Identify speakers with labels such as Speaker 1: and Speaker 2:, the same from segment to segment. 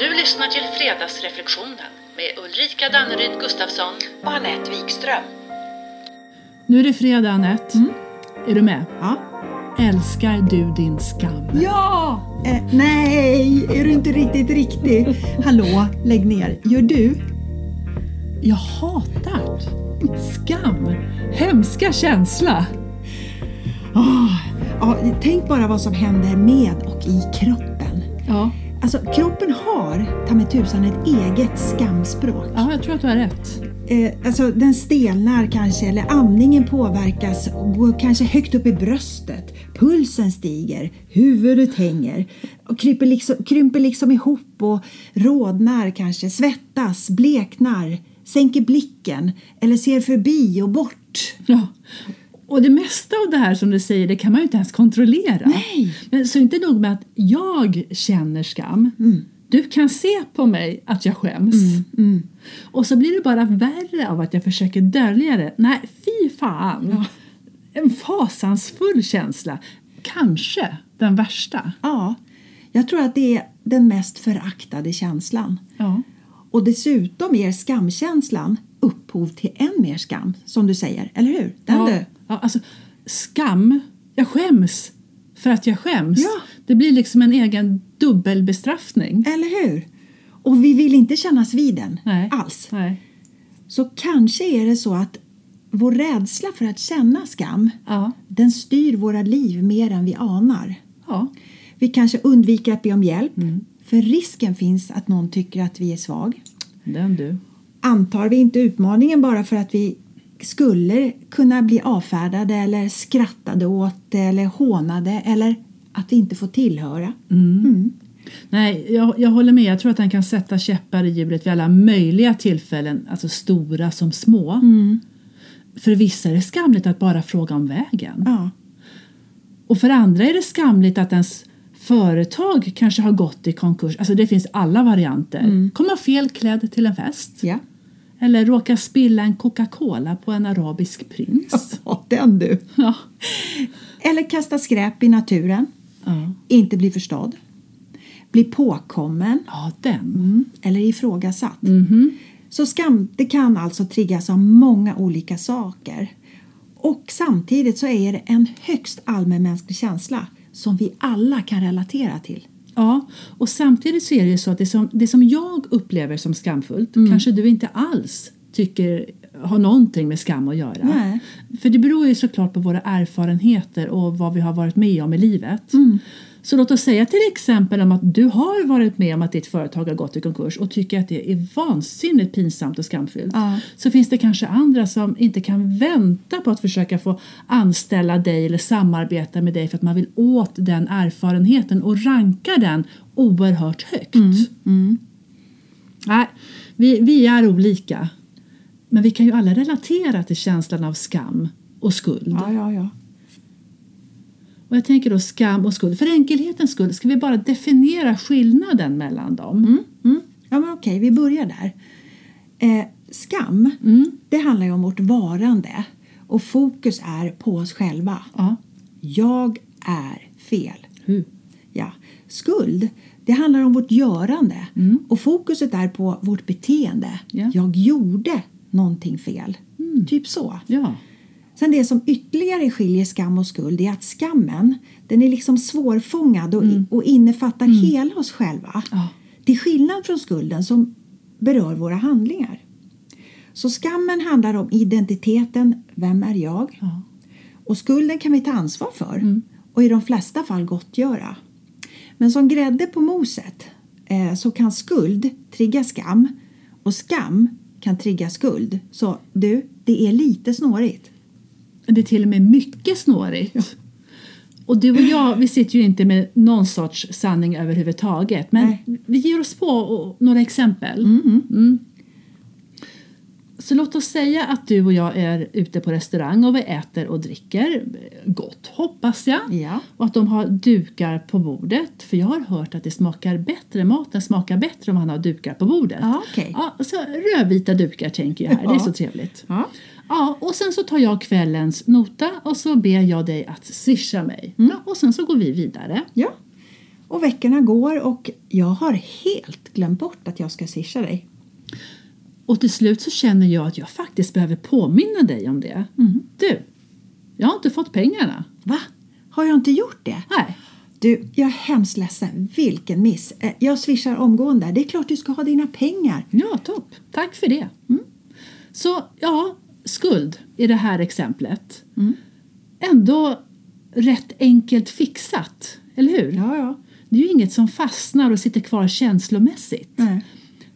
Speaker 1: Du lyssnar till Fredagsreflektionen med Ulrika Danneryd Gustafsson.
Speaker 2: och Anette Wikström.
Speaker 3: Nu är det fredag Anette. Är du med?
Speaker 4: Mm. Ja.
Speaker 3: Älskar du din skam?
Speaker 4: Ja! Eh, nej, är du inte riktigt riktig? Hallå, lägg ner. Gör du?
Speaker 3: Jag hatar skam. Hemska känsla.
Speaker 4: Ah, ja, tänk bara vad som händer med och i kroppen.
Speaker 3: Ja.
Speaker 4: Alltså, kroppen har, ta mig tusan, ett eget skamspråk.
Speaker 3: ja, jag tror att du har rätt.
Speaker 4: Eh, alltså, den stelnar kanske, eller amningen påverkas och går kanske högt upp i bröstet. Pulsen stiger, huvudet hänger och kryper liksom, krymper liksom ihop och rodnar kanske, svettas, bleknar, sänker blicken eller ser förbi och bort.
Speaker 3: Ja. Och det mesta av det här som du säger, det kan man ju inte ens kontrollera.
Speaker 4: Nej.
Speaker 3: Men så inte nog med att jag känner skam.
Speaker 4: Mm.
Speaker 3: Du kan se på mig att jag skäms.
Speaker 4: mm.
Speaker 3: Och så blir det bara värre av att jag försöker dölja det. Nej, fy fan! En fasansfull känsla. Kanske den värsta.
Speaker 4: Ja, jag tror att det är den mest föraktade känslan.
Speaker 3: Ja.
Speaker 4: Och dessutom ger skamkänslan upphov till än mer skam, som du säger, eller hur? Den
Speaker 3: ja.
Speaker 4: du!
Speaker 3: Ja, alltså, skam. Jag skäms för att jag skäms.
Speaker 4: Ja.
Speaker 3: Det blir liksom en egen dubbelbestraffning.
Speaker 4: Eller hur? Och vi vill inte kännas vid den
Speaker 3: Nej.
Speaker 4: alls.
Speaker 3: Nej.
Speaker 4: Så kanske är det så att vår rädsla för att känna skam,
Speaker 3: Ja.
Speaker 4: den styr våra liv mer än vi anar.
Speaker 3: Ja.
Speaker 4: Vi kanske undviker att be om hjälp,
Speaker 3: Mm.
Speaker 4: för risken finns att någon tycker att vi är svag.
Speaker 3: Den du.
Speaker 4: Antar vi inte utmaningen bara för att vi skulle kunna bli avfärdade eller skrattade åt eller hånade eller att vi inte får tillhöra.
Speaker 3: Nej, jag, jag håller med. Jag tror att den kan sätta käppar i hjulet vid alla möjliga tillfällen, alltså stora som små. För vissa är det skamligt att bara fråga om vägen.
Speaker 4: Ja.
Speaker 3: Och för andra är det skamligt att ens företag kanske har gått i konkurs. Alltså det finns alla varianter. Komma fel klädd till en fest.
Speaker 4: ja.
Speaker 3: Eller råka spilla en Coca-Cola på en arabisk prins.
Speaker 4: Den du!
Speaker 3: Ja.
Speaker 4: Eller kasta skräp i naturen.
Speaker 3: Ja,
Speaker 4: Inte bli förstådd. Bli påkommen
Speaker 3: ja den.
Speaker 4: eller ifrågasatt. Så skam det kan alltså triggas av många olika saker. Och samtidigt så är det en högst allmänmänsklig känsla som vi alla kan relatera till.
Speaker 3: Ja, och samtidigt så är det ju så att det som, det som jag upplever som skamfullt kanske du inte alls tycker har någonting med skam att göra.
Speaker 4: Nej.
Speaker 3: För det beror ju såklart på våra erfarenheter och vad vi har varit med om i livet. Så låt oss säga till exempel om att du har varit med om att ditt företag har gått i konkurs och tycker att det är vansinnigt pinsamt och skamfyllt.
Speaker 4: Ja.
Speaker 3: Så finns det kanske andra som inte kan vänta på att försöka få anställa dig eller samarbeta med dig för att man vill åt den erfarenheten och ranka den oerhört högt. Nej, vi, vi är olika. Men vi kan ju alla relatera till känslan av skam och skuld.
Speaker 4: ja, ja.
Speaker 3: Och jag tänker då skam och skuld. För enkelhetens skull ska vi bara definiera skillnaden mellan dem.
Speaker 4: Mm. Ja, men okej, vi börjar där. Eh, skam, det handlar ju om vårt varande och fokus är på oss själva.
Speaker 3: Ja.
Speaker 4: Jag är fel.
Speaker 3: Hu.
Speaker 4: Ja. Skuld, det handlar om vårt görande och fokuset är på vårt beteende.
Speaker 3: Ja.
Speaker 4: Jag gjorde någonting fel. Typ så.
Speaker 3: Ja.
Speaker 4: Sen det som ytterligare skiljer skam och skuld är att skammen den är liksom svårfångad och, och innefattar hela oss själva.
Speaker 3: Mm. Ja.
Speaker 4: Till skillnad från skulden som berör våra handlingar. Så skammen handlar om identiteten, vem är jag?
Speaker 3: Ja. Mm.
Speaker 4: Och skulden kan vi ta ansvar för och i de flesta fall gottgöra. Men som grädde på moset eh, så kan skuld trigga skam och skam kan trigga skuld. Så du, det är lite snårigt.
Speaker 3: Det är till och med mycket snårigt. Och du och jag, vi sitter ju inte med någon sorts sanning överhuvudtaget. Men
Speaker 4: Nej.
Speaker 3: vi ger oss på och- några exempel. Mm. Så låt oss säga att du och jag är ute på restaurang och vi äter och dricker gott, hoppas jag.
Speaker 4: Ja.
Speaker 3: Och att de har dukar på bordet. För jag har hört att det smakar bättre, maten smakar bättre om man har dukar på bordet.
Speaker 4: Ja, okej.
Speaker 3: ja, så rödvita dukar tänker jag här, det är
Speaker 4: Ja.
Speaker 3: så trevligt.
Speaker 4: Ja.
Speaker 3: Ja, och sen så tar jag kvällens Mm. nota och så ber jag dig att swisha mig. Ja, och sen så går vi vidare.
Speaker 4: Ja. Och veckorna går och jag har helt glömt bort att jag ska swisha dig.
Speaker 3: Och till slut så känner jag att jag faktiskt behöver påminna dig om det. Mm. Du, jag har inte fått pengarna.
Speaker 4: Va? Har jag inte gjort det?
Speaker 3: Nej.
Speaker 4: Du, jag är hemskt ledsen. Vilken miss. Eh, Jag swishar omgående. Det är klart du ska ha dina pengar.
Speaker 3: Ja, topp. Tack för det. Mm. Så ja, skuld i det här exemplet. Ändå rätt enkelt fixat, eller hur?
Speaker 4: Ja, ja.
Speaker 3: Det är ju inget som fastnar och sitter kvar känslomässigt.
Speaker 4: Nej.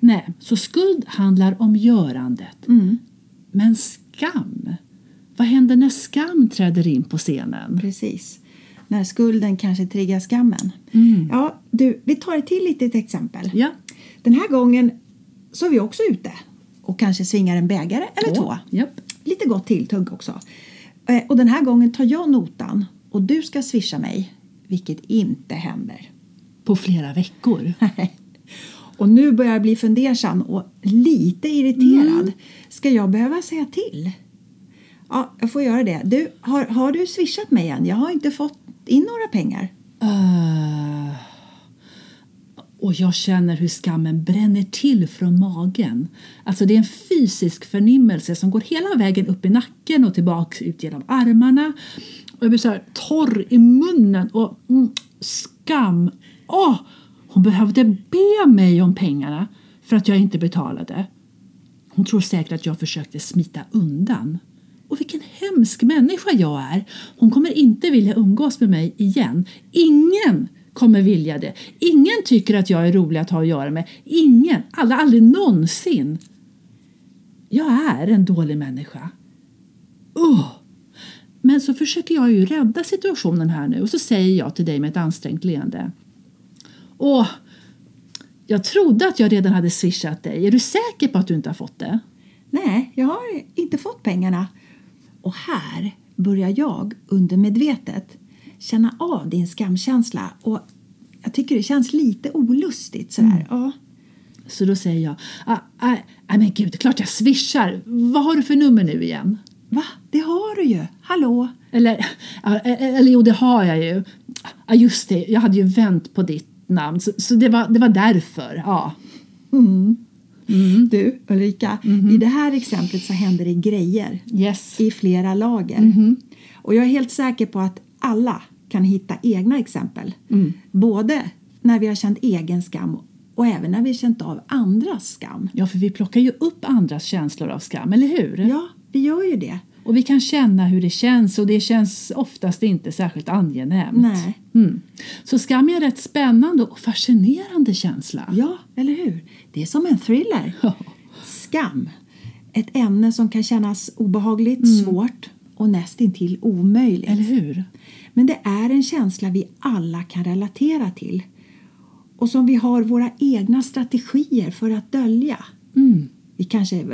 Speaker 3: Nej, så skuld handlar om görandet. Men skam, vad händer när skam träder in på scenen?
Speaker 4: Precis. När skulden kanske triggar skammen. Ja, du, vi tar ett till litet exempel.
Speaker 3: Mm. Ja.
Speaker 4: Den här gången så är vi också ute och kanske svingar en bägare eller
Speaker 3: Åh,
Speaker 4: två.
Speaker 3: japp.
Speaker 4: Lite gott tilltugg också. Eh, Och den här gången tar jag notan och du ska swisha mig, vilket inte händer.
Speaker 3: På flera veckor.
Speaker 4: och nu börjar jag bli fundersam och lite irriterad. Ska jag behöva säga till? Ja, jag får göra det. Du, har, har du swishat mig än? Jag har inte fått in några pengar.
Speaker 3: Ah. Och jag känner hur skammen bränner till från magen. Alltså det är en fysisk förnimmelse som går hela vägen upp i nacken och tillbaks ut genom armarna. Och jag blir så här torr i munnen och mm, skam. Åh! Hon behövde be mig om pengarna för att jag inte betalade. Hon tror säkert att jag försökte smita undan. Och vilken hemsk människa jag är! Hon kommer inte vilja umgås med mig igen. Ingen kommer vilja det. Ingen tycker att jag är rolig att ha att göra med. Ingen! Alla, aldrig någonsin! Jag är en dålig människa. Ugh. Men så försöker jag ju rädda situationen här nu och så säger jag till dig med ett ansträngt leende. Åh, jag trodde att jag redan hade swishat dig. Är du säker på att du inte har fått det?
Speaker 4: Nej, jag har inte fått pengarna. Och här börjar jag undermedvetet känna av din skamkänsla och jag tycker det känns lite olustigt sådär. Ja.
Speaker 3: Så då säger jag, "Ah, ah, nej men gud, det är klart jag swishar. Vad har du för nummer nu igen?
Speaker 4: Va? Det har du ju! Hallå!
Speaker 3: Eller, "Ah, eh, eh, eller jo, det har jag ju. Ja, just det, jag hade ju vänt på ditt namn, så, så det, var, det var därför. Ja.
Speaker 4: Du Ulrika, i det här exemplet så händer det grejer
Speaker 3: Yes.
Speaker 4: i flera lager. Och jag är helt säker på att alla kan hitta egna exempel. Både när vi har känt egen skam och även när vi har känt av andras skam.
Speaker 3: Ja, för vi plockar ju upp andras känslor av skam, eller hur?
Speaker 4: Ja, vi gör ju det.
Speaker 3: Och vi kan känna hur det känns och det känns oftast inte särskilt angenämt.
Speaker 4: Nej.
Speaker 3: Mm. Så skam är en rätt spännande och fascinerande känsla.
Speaker 4: Ja, eller hur? Det är som en thriller.
Speaker 3: Ja.
Speaker 4: Skam. Ett ämne som kan kännas obehagligt, svårt och nästintill omöjligt.
Speaker 3: Mm. Eller hur?
Speaker 4: Men det är en känsla vi alla kan relatera till och som vi har våra egna strategier för att dölja.
Speaker 3: Mm.
Speaker 4: Vi kanske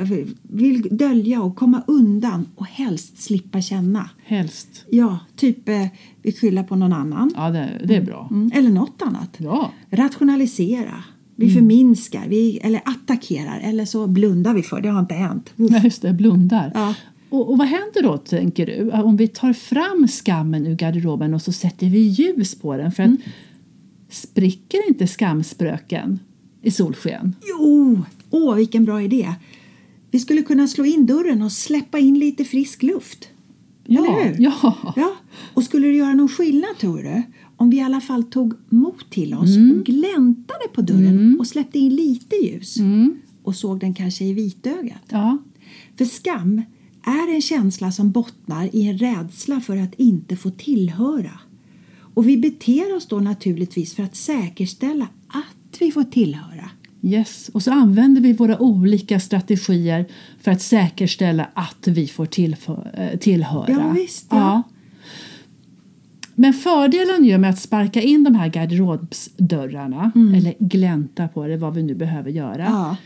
Speaker 4: vill dölja och komma undan och helst slippa känna.
Speaker 3: Helst.
Speaker 4: Ja, typ eh, vi skyller på någon annan.
Speaker 3: Ja, det, det är bra.
Speaker 4: Mm, eller något annat.
Speaker 3: Ja. Mm.
Speaker 4: Rationalisera. Vi förminskar vi, eller attackerar eller så blundar vi för det har inte hänt.
Speaker 3: Nej, just det, blundar.
Speaker 4: Ja.
Speaker 3: Och, och vad händer då, tänker du, om vi tar fram skammen ur garderoben och så sätter vi ljus på den? För att
Speaker 4: Mm.
Speaker 3: spricker inte skamspröken i solsken?
Speaker 4: Jo, åh vilken bra idé. Vi skulle kunna slå in dörren och släppa in lite frisk luft. eller hur?
Speaker 3: Ja.
Speaker 4: ja. Och skulle det göra någon skillnad tror du? Om vi i alla fall tog mot till oss
Speaker 3: Mm.
Speaker 4: och gläntade på dörren och släppte in lite ljus
Speaker 3: Mm.
Speaker 4: och såg den kanske i vitögat.
Speaker 3: ja.
Speaker 4: För skam är en känsla som bottnar i en rädsla för att inte få tillhöra. Och vi beter oss då naturligtvis för att säkerställa att vi får tillhöra.
Speaker 3: Yes. Och så använder vi våra olika strategier för att säkerställa att vi får tillfö- eh, tillhöra.
Speaker 4: Ja, visst, ja.
Speaker 3: Men fördelen ju med att sparka in de här garderobsdörrarna eller glänta på det, vad vi nu behöver göra.
Speaker 4: Mm. Ja.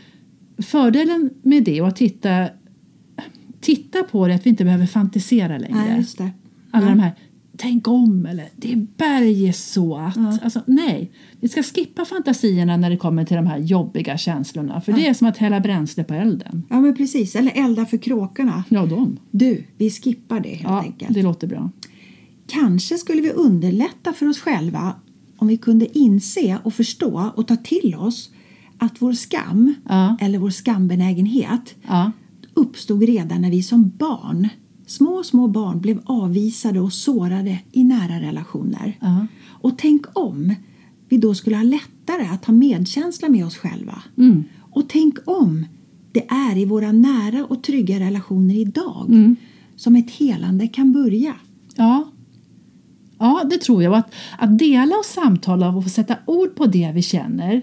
Speaker 3: Fördelen med det och att titta, titta på det är att vi inte behöver fantisera längre.
Speaker 4: Nej, just det.
Speaker 3: Alla de här Tänk om eller det berg är så att. Alltså, nej, vi ska skippa fantasierna när det kommer till de här jobbiga känslorna. För det är som att hälla bränsle på elden.
Speaker 4: Ja, men precis. Eller elda för kråkorna.
Speaker 3: Ja, de.
Speaker 4: Du, vi skippar det helt
Speaker 3: Ja,
Speaker 4: enkelt.
Speaker 3: det låter bra.
Speaker 4: Kanske skulle vi underlätta för oss själva om vi kunde inse och förstå och ta till oss att vår skam,
Speaker 3: Ja.
Speaker 4: eller vår skambenägenhet,
Speaker 3: Ja.
Speaker 4: uppstod redan när vi som barn, små, små barn, blev avvisade och sårade i nära relationer.
Speaker 3: Ja.
Speaker 4: Och tänk om vi då skulle ha lättare att ha medkänsla med oss själva. Och tänk om det är i våra nära och trygga relationer idag som ett helande kan börja.
Speaker 3: Ja. ja, det tror jag. Och Att, att dela och samtala och få sätta ord på det vi känner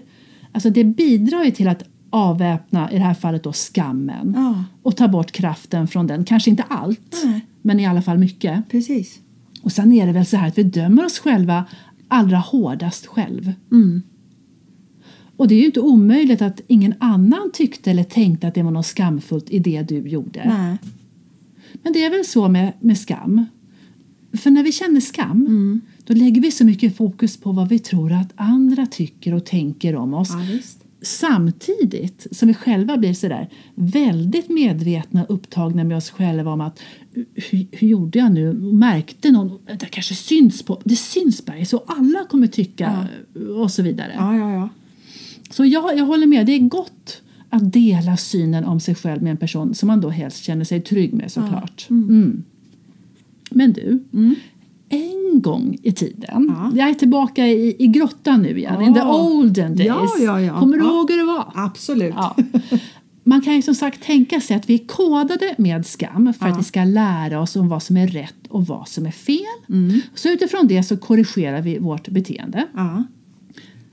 Speaker 3: alltså det bidrar ju till att avväpna, i det här fallet då, skammen
Speaker 4: Ja.
Speaker 3: och ta bort kraften från den. Kanske inte allt,
Speaker 4: Nej.
Speaker 3: men i alla fall mycket.
Speaker 4: Precis.
Speaker 3: Och sen är det väl så här att vi dömer oss själva allra hårdast själv.
Speaker 4: Mm.
Speaker 3: Och det är ju inte omöjligt att ingen annan tyckte eller tänkte att det var något skamfullt i det du gjorde.
Speaker 4: Nej.
Speaker 3: Men det är väl så med, med skam. För när vi känner skam då lägger vi så mycket fokus på vad vi tror att andra tycker och tänker om oss.
Speaker 4: Ja, visst.
Speaker 3: Samtidigt som vi själva blir sådär väldigt medvetna och upptagna med oss själva om att hur, hur gjorde jag nu? Märkte någon? Det kanske syns på Det syns på mig så alla kommer tycka och så vidare.
Speaker 4: Ja, ja, ja.
Speaker 3: Så jag, jag håller med, det är gott att dela synen om sig själv med en person som man då helst känner sig trygg med såklart. Mm. Men du, en gång i tiden,
Speaker 4: Mm. Ja.
Speaker 3: jag är tillbaka i, i grottan nu igen, in the
Speaker 4: Ja.
Speaker 3: olden days.
Speaker 4: Ja, ja, ja.
Speaker 3: Kommer du
Speaker 4: Ja.
Speaker 3: ihåg hur det var?
Speaker 4: Absolut.
Speaker 3: Ja. Man kan ju som sagt tänka sig att vi är kodade med skam för att vi ska lära oss om vad som är rätt och vad som är fel.
Speaker 4: Mm.
Speaker 3: Så utifrån det så korrigerar vi vårt beteende
Speaker 4: Ja.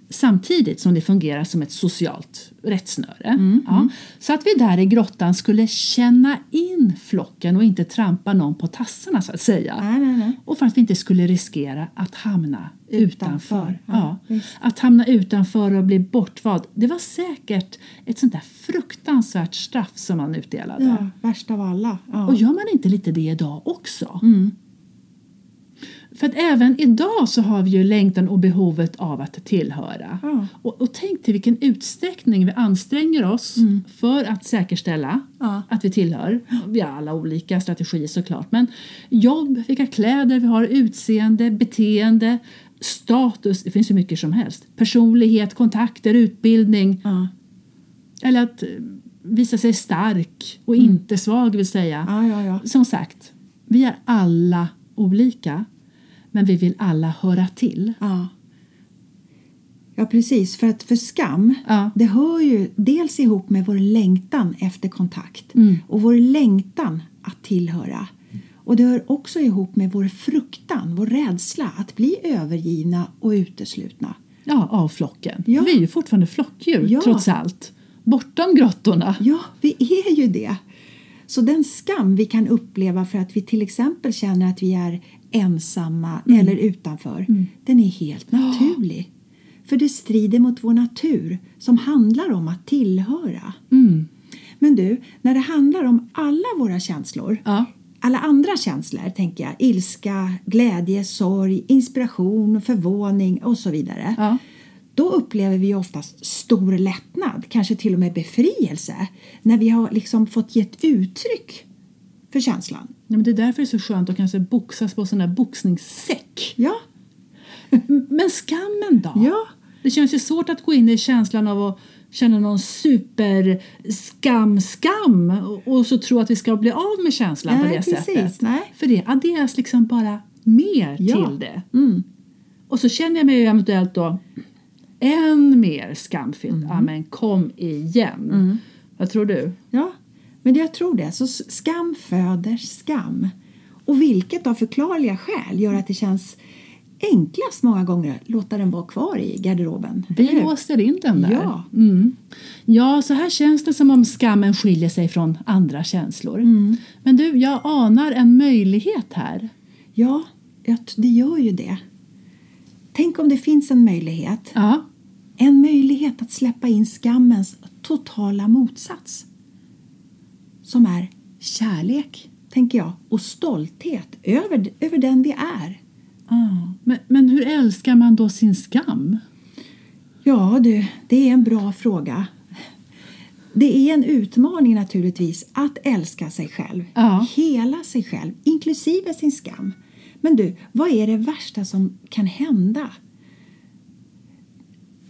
Speaker 3: samtidigt som det fungerar som ett socialt rättsnöre. ja. Så att vi där i grottan skulle känna in flocken och inte trampa någon på tassarna så att säga.
Speaker 4: Nej, nej, nej.
Speaker 3: Och för att vi inte skulle riskera att hamna utanför.
Speaker 4: Utanför,
Speaker 3: Ja,
Speaker 4: ja,
Speaker 3: Att hamna utanför och bli bortvald, det var säkert ett sånt där fruktansvärt straff som man utdelade.
Speaker 4: Ja, värst av alla. Ja. Mm.
Speaker 3: Och gör man inte lite det idag också? För att även idag så har vi ju längtan och behovet av att tillhöra.
Speaker 4: Ja.
Speaker 3: Och, och tänk till vilken utsträckning vi anstränger oss för att säkerställa
Speaker 4: Mm. Ja.
Speaker 3: att vi tillhör. Vi har alla olika strategier såklart. Men jobb, vilka kläder vi har, utseende, beteende, status. Det finns ju mycket som helst. Personlighet, kontakter, utbildning.
Speaker 4: Ja.
Speaker 3: Eller att eh, visa sig stark och inte svag vill säga.
Speaker 4: Mm. Ja, ja, ja.
Speaker 3: Som sagt, vi är alla olika men vi vill alla höra till.
Speaker 4: Ja. Ja, precis. För att för skam,
Speaker 3: Ja.
Speaker 4: det hör ju dels ihop med vår längtan efter kontakt och vår längtan att tillhöra. Och det hör också ihop med vår fruktan, vår rädsla att bli övergivna och uteslutna.
Speaker 3: Ja, av flocken.
Speaker 4: Ja.
Speaker 3: Vi är ju fortfarande flockdjur
Speaker 4: Ja.
Speaker 3: trots allt. Bortom grottorna.
Speaker 4: Ja, vi är ju det. Så den skam vi kan uppleva för att vi till exempel känner att vi är ensamma
Speaker 3: Mm.
Speaker 4: eller utanför, den är helt naturlig. För det strider mot vår natur som handlar om att tillhöra.
Speaker 3: Mm.
Speaker 4: Men du, när det handlar om alla våra känslor,
Speaker 3: Ja.
Speaker 4: alla andra känslor tänker jag, ilska, glädje, sorg, inspiration, förvåning och så vidare.
Speaker 3: Ja.
Speaker 4: Då upplever vi oftast stor lättnad, kanske till och med befrielse, när vi har liksom fått gett uttryck för känslan.
Speaker 3: Ja, men det är därför det är så skönt att kanske boxas på sån där boxningssäck.
Speaker 4: Ja,
Speaker 3: Men skammen då?
Speaker 4: Ja.
Speaker 3: Det känns ju svårt att gå in i känslan av att känna någon superskam-skam och- och så tro att vi ska bli av med känslan på
Speaker 4: Nej,
Speaker 3: det
Speaker 4: precis.
Speaker 3: sättet.
Speaker 4: Nej.
Speaker 3: För det adderas liksom bara mer
Speaker 4: Ja.
Speaker 3: till det. Mm. Och så känner jag mig ju eventuellt då än mer skamfylld.
Speaker 4: Mm.
Speaker 3: Ja men kom igen. Vad tror du?
Speaker 4: ja. men jag tror det. Så s- skam föder skam. Och vilket av förklarliga skäl gör att det känns enklast många gånger att låta den vara kvar i garderoben.
Speaker 3: Vi
Speaker 4: eller hur?
Speaker 3: låser in den där.
Speaker 4: Ja.
Speaker 3: Mm. ja, så här känns det som om skammen skiljer sig från andra känslor. Men du, jag anar en möjlighet här.
Speaker 4: Ja, jag t- det gör ju det. Tänk om det finns en möjlighet.
Speaker 3: Ja.
Speaker 4: En möjlighet att släppa in skammens totala motsats. Som är kärlek, tänker jag, och stolthet över, d- över den vi är.
Speaker 3: Ah. Men, men hur älskar man då sin skam?
Speaker 4: Ja du, det är en bra fråga. Det är en utmaning naturligtvis att älska sig själv,
Speaker 3: Ja.
Speaker 4: hela sig själv, inklusive sin skam. Men du, vad är det värsta som kan hända?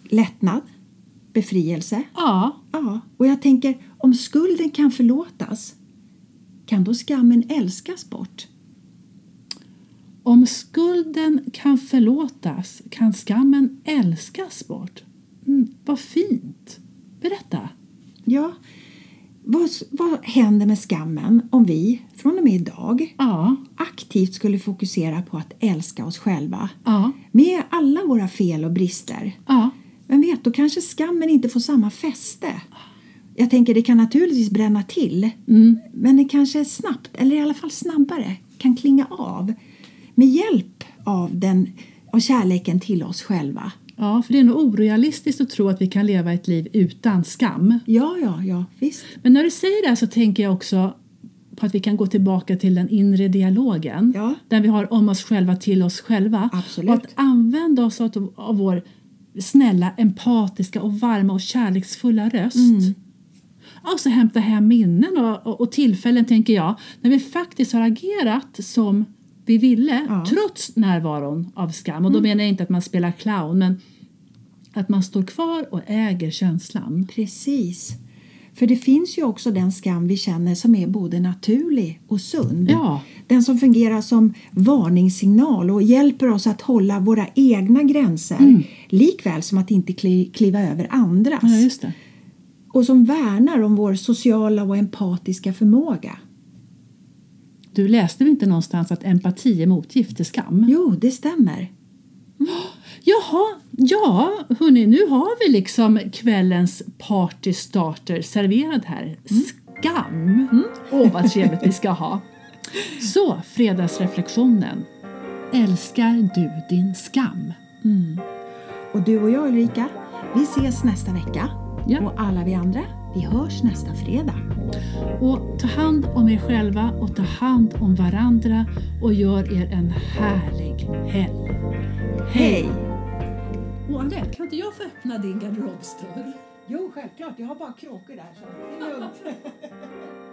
Speaker 4: lättnad, befrielse.
Speaker 3: Ja,
Speaker 4: Ja, och jag tänker om skulden kan förlåtas, kan då skammen älskas bort?
Speaker 3: om skulden kan förlåtas kan skammen älskas bort. Mm, vad fint! Berätta.
Speaker 4: Ja, vad, vad händer med skammen om vi från och med idag
Speaker 3: Ja,
Speaker 4: aktivt skulle fokusera på att älska oss själva
Speaker 3: ja,
Speaker 4: med alla våra fel och brister?
Speaker 3: ja.
Speaker 4: Vem vet, då kanske skammen inte får samma fäste. Jag tänker, det kan naturligtvis bränna till, men det kanske snabbt, eller i alla fall snabbare, kan klinga av med hjälp av, den, av kärleken till oss själva.
Speaker 3: Ja, för det är nog orealistiskt att tro att vi kan leva ett liv utan skam.
Speaker 4: Ja, ja, ja, visst.
Speaker 3: Men när du säger det här så tänker jag också på att vi kan gå tillbaka till den inre dialogen.
Speaker 4: Ja.
Speaker 3: Där vi har om oss själva till oss själva.
Speaker 4: Absolut.
Speaker 3: Och att använda oss av, av vår snälla, empatiska och varma och kärleksfulla röst.
Speaker 4: Mm.
Speaker 3: Och så hämta hem minnen och, och, och tillfällen, tänker jag, när vi faktiskt har agerat som vi ville
Speaker 4: Ja. Mm.
Speaker 3: trots närvaron av skam. Och då menar jag inte att man spelar clown, men att man står kvar och äger känslan.
Speaker 4: Precis. För det finns ju också den skam vi känner som är både naturlig och sund.
Speaker 3: Ja.
Speaker 4: Den som fungerar som varningssignal och hjälper oss att hålla våra egna gränser likväl som att inte kli- kliva över andras.
Speaker 3: Mm. Ja, just det.
Speaker 4: och som värnar om vår sociala och empatiska förmåga.
Speaker 3: Du läste väl inte någonstans att empati är motgift till skam?
Speaker 4: Jo, det stämmer.
Speaker 3: Jaha, ja, hörni, nu har vi liksom kvällens partystarter serverad här. Skam! Mm. Åh, vad trevligt vi ska ha! Så, fredagsreflektionen. Älskar du din skam?
Speaker 4: Och du och jag Ulrika, vi ses nästa vecka.
Speaker 3: Ja.
Speaker 4: Och alla vi andra, vi hörs nästa fredag.
Speaker 3: Och ta hand om er själva och ta hand om varandra och gör er en härlig helg.
Speaker 4: Hej!
Speaker 3: Och Anette, kan inte jag få öppna din garderobsdörr?
Speaker 4: Jo, självklart. Jag har bara kråkor där. Så det är lugnt.